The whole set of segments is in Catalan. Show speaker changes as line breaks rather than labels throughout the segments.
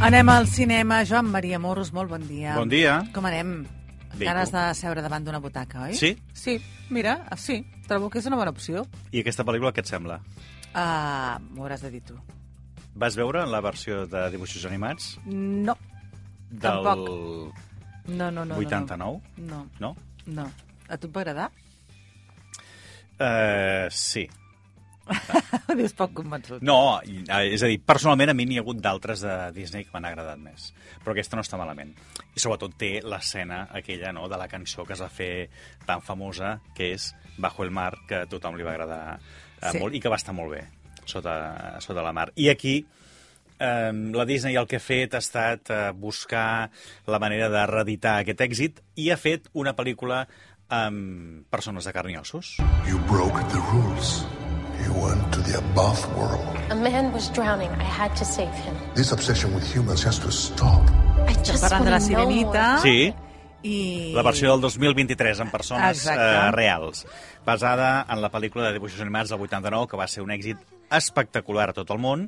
Anem al cinema. Joan Maria Morros, molt bon dia.
Bon dia.
Com anem?
Bé,
Encara has
tu?
de seure davant d'una butaca, oi?
Sí.
Sí, mira, ah, sí. Trobo que és una bona opció.
I aquesta pel·lícula què et sembla?
Uh, M'ho hauràs de dir tu.
Vas veure la versió de dibuixos animats
No.
del
Tampoc. No, no, no.
89?
No, no.
No?
no. A tu et va agradar?
Eh, sí.
Dius poc convençut.
No, i- eh, és a dir, personalment a mi n'hi ha hagut d'altres de Disney que m'han agradat més, però aquesta no està malament. I sobretot té l'escena aquella no, de la cançó que es va fer tan famosa, que és Bajo el mar, que a tothom li va agradar eh,
Sí.
sí. molt i que va estar molt bé sota, sota la mar. I aquí eh, la Disney el que ha fet ha estat eh, buscar la manera de reeditar aquest èxit i ha fet una pel·lícula amb persones de carn i ossos.
You broke the rules. You went to the above world.
A man was drowning. I had to save him.
This obsession with humans has to stop.
I
Estem
just
parlant de la
want to know
Sirenita.
more.
Sí.
I...
La versió del 2023 en persones eh,
Exacte.
reals, basada en la pel·lícula de dibuixos animats del 89, que va ser un èxit espectacular a tot el món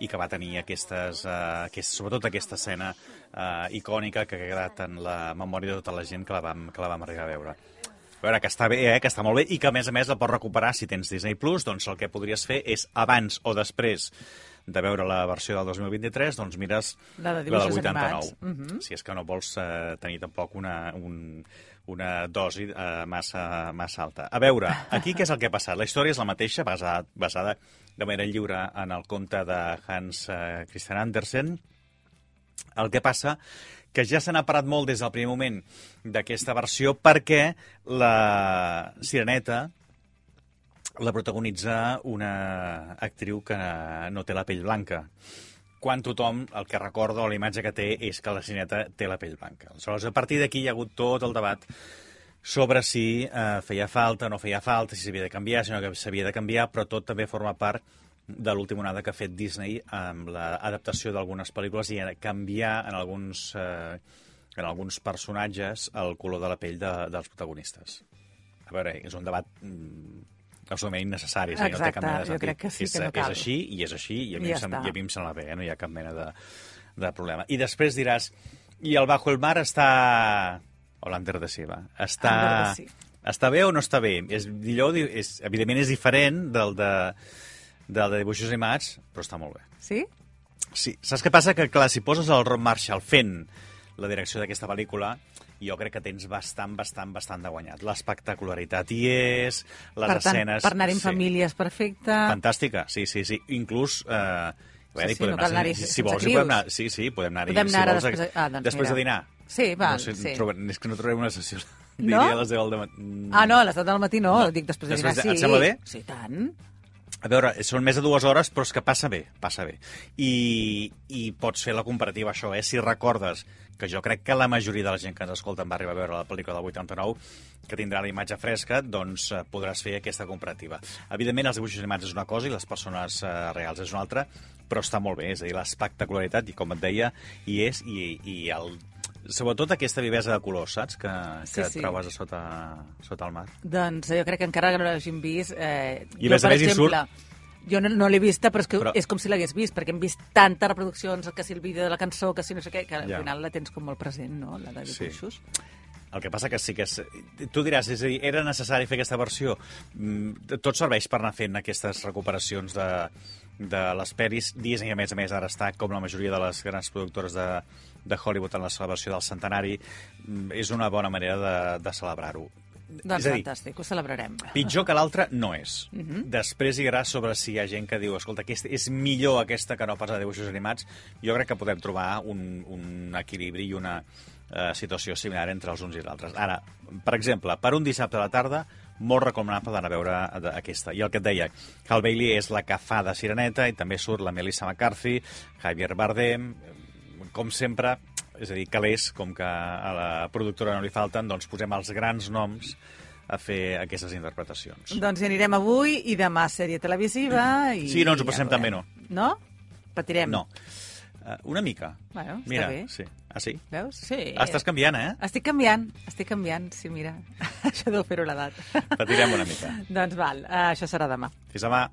i que va tenir aquestes, eh, aquest, sobretot aquesta escena eh, icònica que ha quedat en la memòria de tota la gent que la vam, que la vam arribar a veure. A veure, que està bé, eh? que està molt bé, i que a més a més la pots recuperar si tens Disney+, Plus, doncs el que podries fer és abans o després de veure la versió del 2023, doncs mires
La de
la del
dibuixos
89.
animats. Mhm.
Si és que no vols eh, tenir tampoc una, un, una dosi eh, massa, massa alta. A veure, aquí què és el que ha passat? La història és la mateixa, basada, basada de manera lliure en el conte de Hans eh, Christian Andersen, el que passa que ja se n'ha parat molt des del primer moment d'aquesta versió perquè la Sireneta la protagonitza una actriu que no té la pell blanca. Quan tothom el que recorda o la imatge que té és que la Sireneta té la pell blanca. Aleshores, a partir d'aquí hi ha hagut tot el debat sobre si eh, feia falta o no feia falta, si s'havia de canviar, si no que s'havia de canviar, però tot també forma part de l'última onada que ha fet Disney amb l'adaptació d'algunes pel·lícules i a canviar en alguns, eh, en alguns personatges el color de la pell de, dels protagonistes. A veure, és un debat mm, absolutament innecessari. és a dir, no té cap
Exacte,
mena de
jo
sentit.
crec que sí
és,
que no
és
cal.
així i és així i a mi,
Ja
ja em, sembla-
està.
i a mi em sembla bé, eh? no hi ha cap mena de, de problema. I després diràs, i el Bajo el Mar està... O l'Ander de Siva. Està,
Ander de Siva.
està bé o no està bé? És, millor, di- és, evidentment és diferent del de, del de dibuixos animats, però està molt bé.
Sí?
Sí, saps què passa? Que clar, si poses el Ron Marshall fent la direcció d'aquesta pel·lícula, jo crec que tens bastant, bastant, bastant de guanyat. L'espectacularitat hi és, les
per tant,
escenes...
per anar-hi en
sí.
família és perfecte.
Fantàstica, sí, sí, sí. Inclús... Eh,
Sí, sí, no cal anar-hi
si, si
sense
vols, hi
crios.
podem anar, sí, sí, podem anar-hi.
Podem
si
anar ara
vols,
després de- ah, doncs
després
mira.
de dinar.
Sí, va,
no sé,
sí.
Trobem, és que no trobarem una sessió.
No?
Diria a les 10 del matí.
Ah, no, a les 7 del matí no, dic després de dinar. Sí.
Després de- et sembla bé?
Sí, tant.
A veure, són més de dues hores, però és que passa bé, passa bé. I, i pots fer la comparativa, això, eh? Si recordes que jo crec que la majoria de la gent que ens escolta en va arribar a veure la pel·lícula del 89, que tindrà la imatge fresca, doncs eh, podràs fer aquesta comparativa. Evidentment, els dibuixos animats és una cosa i les persones eh, reals és una altra, però està molt bé, és a dir, l'espectacularitat, i com et deia, hi és, i, i el, sobretot aquesta vivesa de colors, saps?, que,
Sí,
que
sí.
trobes a sota, sota el mar.
Doncs jo crec que encara que no l'hagin vist... Eh,
I ves a
per
més i
exemple, Jo no, no l'he vista, però és, que
Però-
és com si l'hagués vist, perquè hem vist tantes reproduccions, que si el vídeo de la cançó, que si no sé què, que al
Ja.
final la tens com molt present, no?, la de dibuixos. Sí.
El que passa que sí que... És... Tu diràs, és a dir, era necessari fer aquesta versió? Mm, Tot serveix per anar fent aquestes recuperacions de, de les peris. Disney, a més a més, ara està, com la majoria de les grans productores de, de Hollywood, en la celebració del centenari. Mm, És una bona manera de, de celebrar-ho.
Doncs
és a dir,
fantàstic, ho celebrarem.
Pitjor que l'altra no és. Després hi haurà sobre si hi ha gent que diu escolta, aquesta és millor aquesta que no pas la de dibuixos animats. Jo crec que podem trobar un, un equilibri i una eh, situació similar entre els uns i els altres. Ara, per exemple, per un dissabte a la tarda, molt recomanable d'anar a veure de- aquesta. I el que et deia, Hal Bailey és la que fa de Sireneta i també surt la Melissa McCarthy, Javier Bardem, com sempre, és a dir, calés, com que a la productora no li falten, doncs posem els grans noms a fer aquestes interpretacions.
Doncs hi anirem avui i demà sèrie televisiva. I
Mm. Sí, no ens ho
ja
passem
veurem.
tan bé, no.
No? Patirem.
No. Eh, Una mica.
Bueno, està
Mira,
bé. Eh.
sí. Ah, sí?
Veus? Sí.
Estàs canviant, eh?
Estic canviant, estic canviant, sí, mira. Això deu fer-ho l'edat.
Patirem una mica.
doncs val, eh, això serà demà.
Fins demà.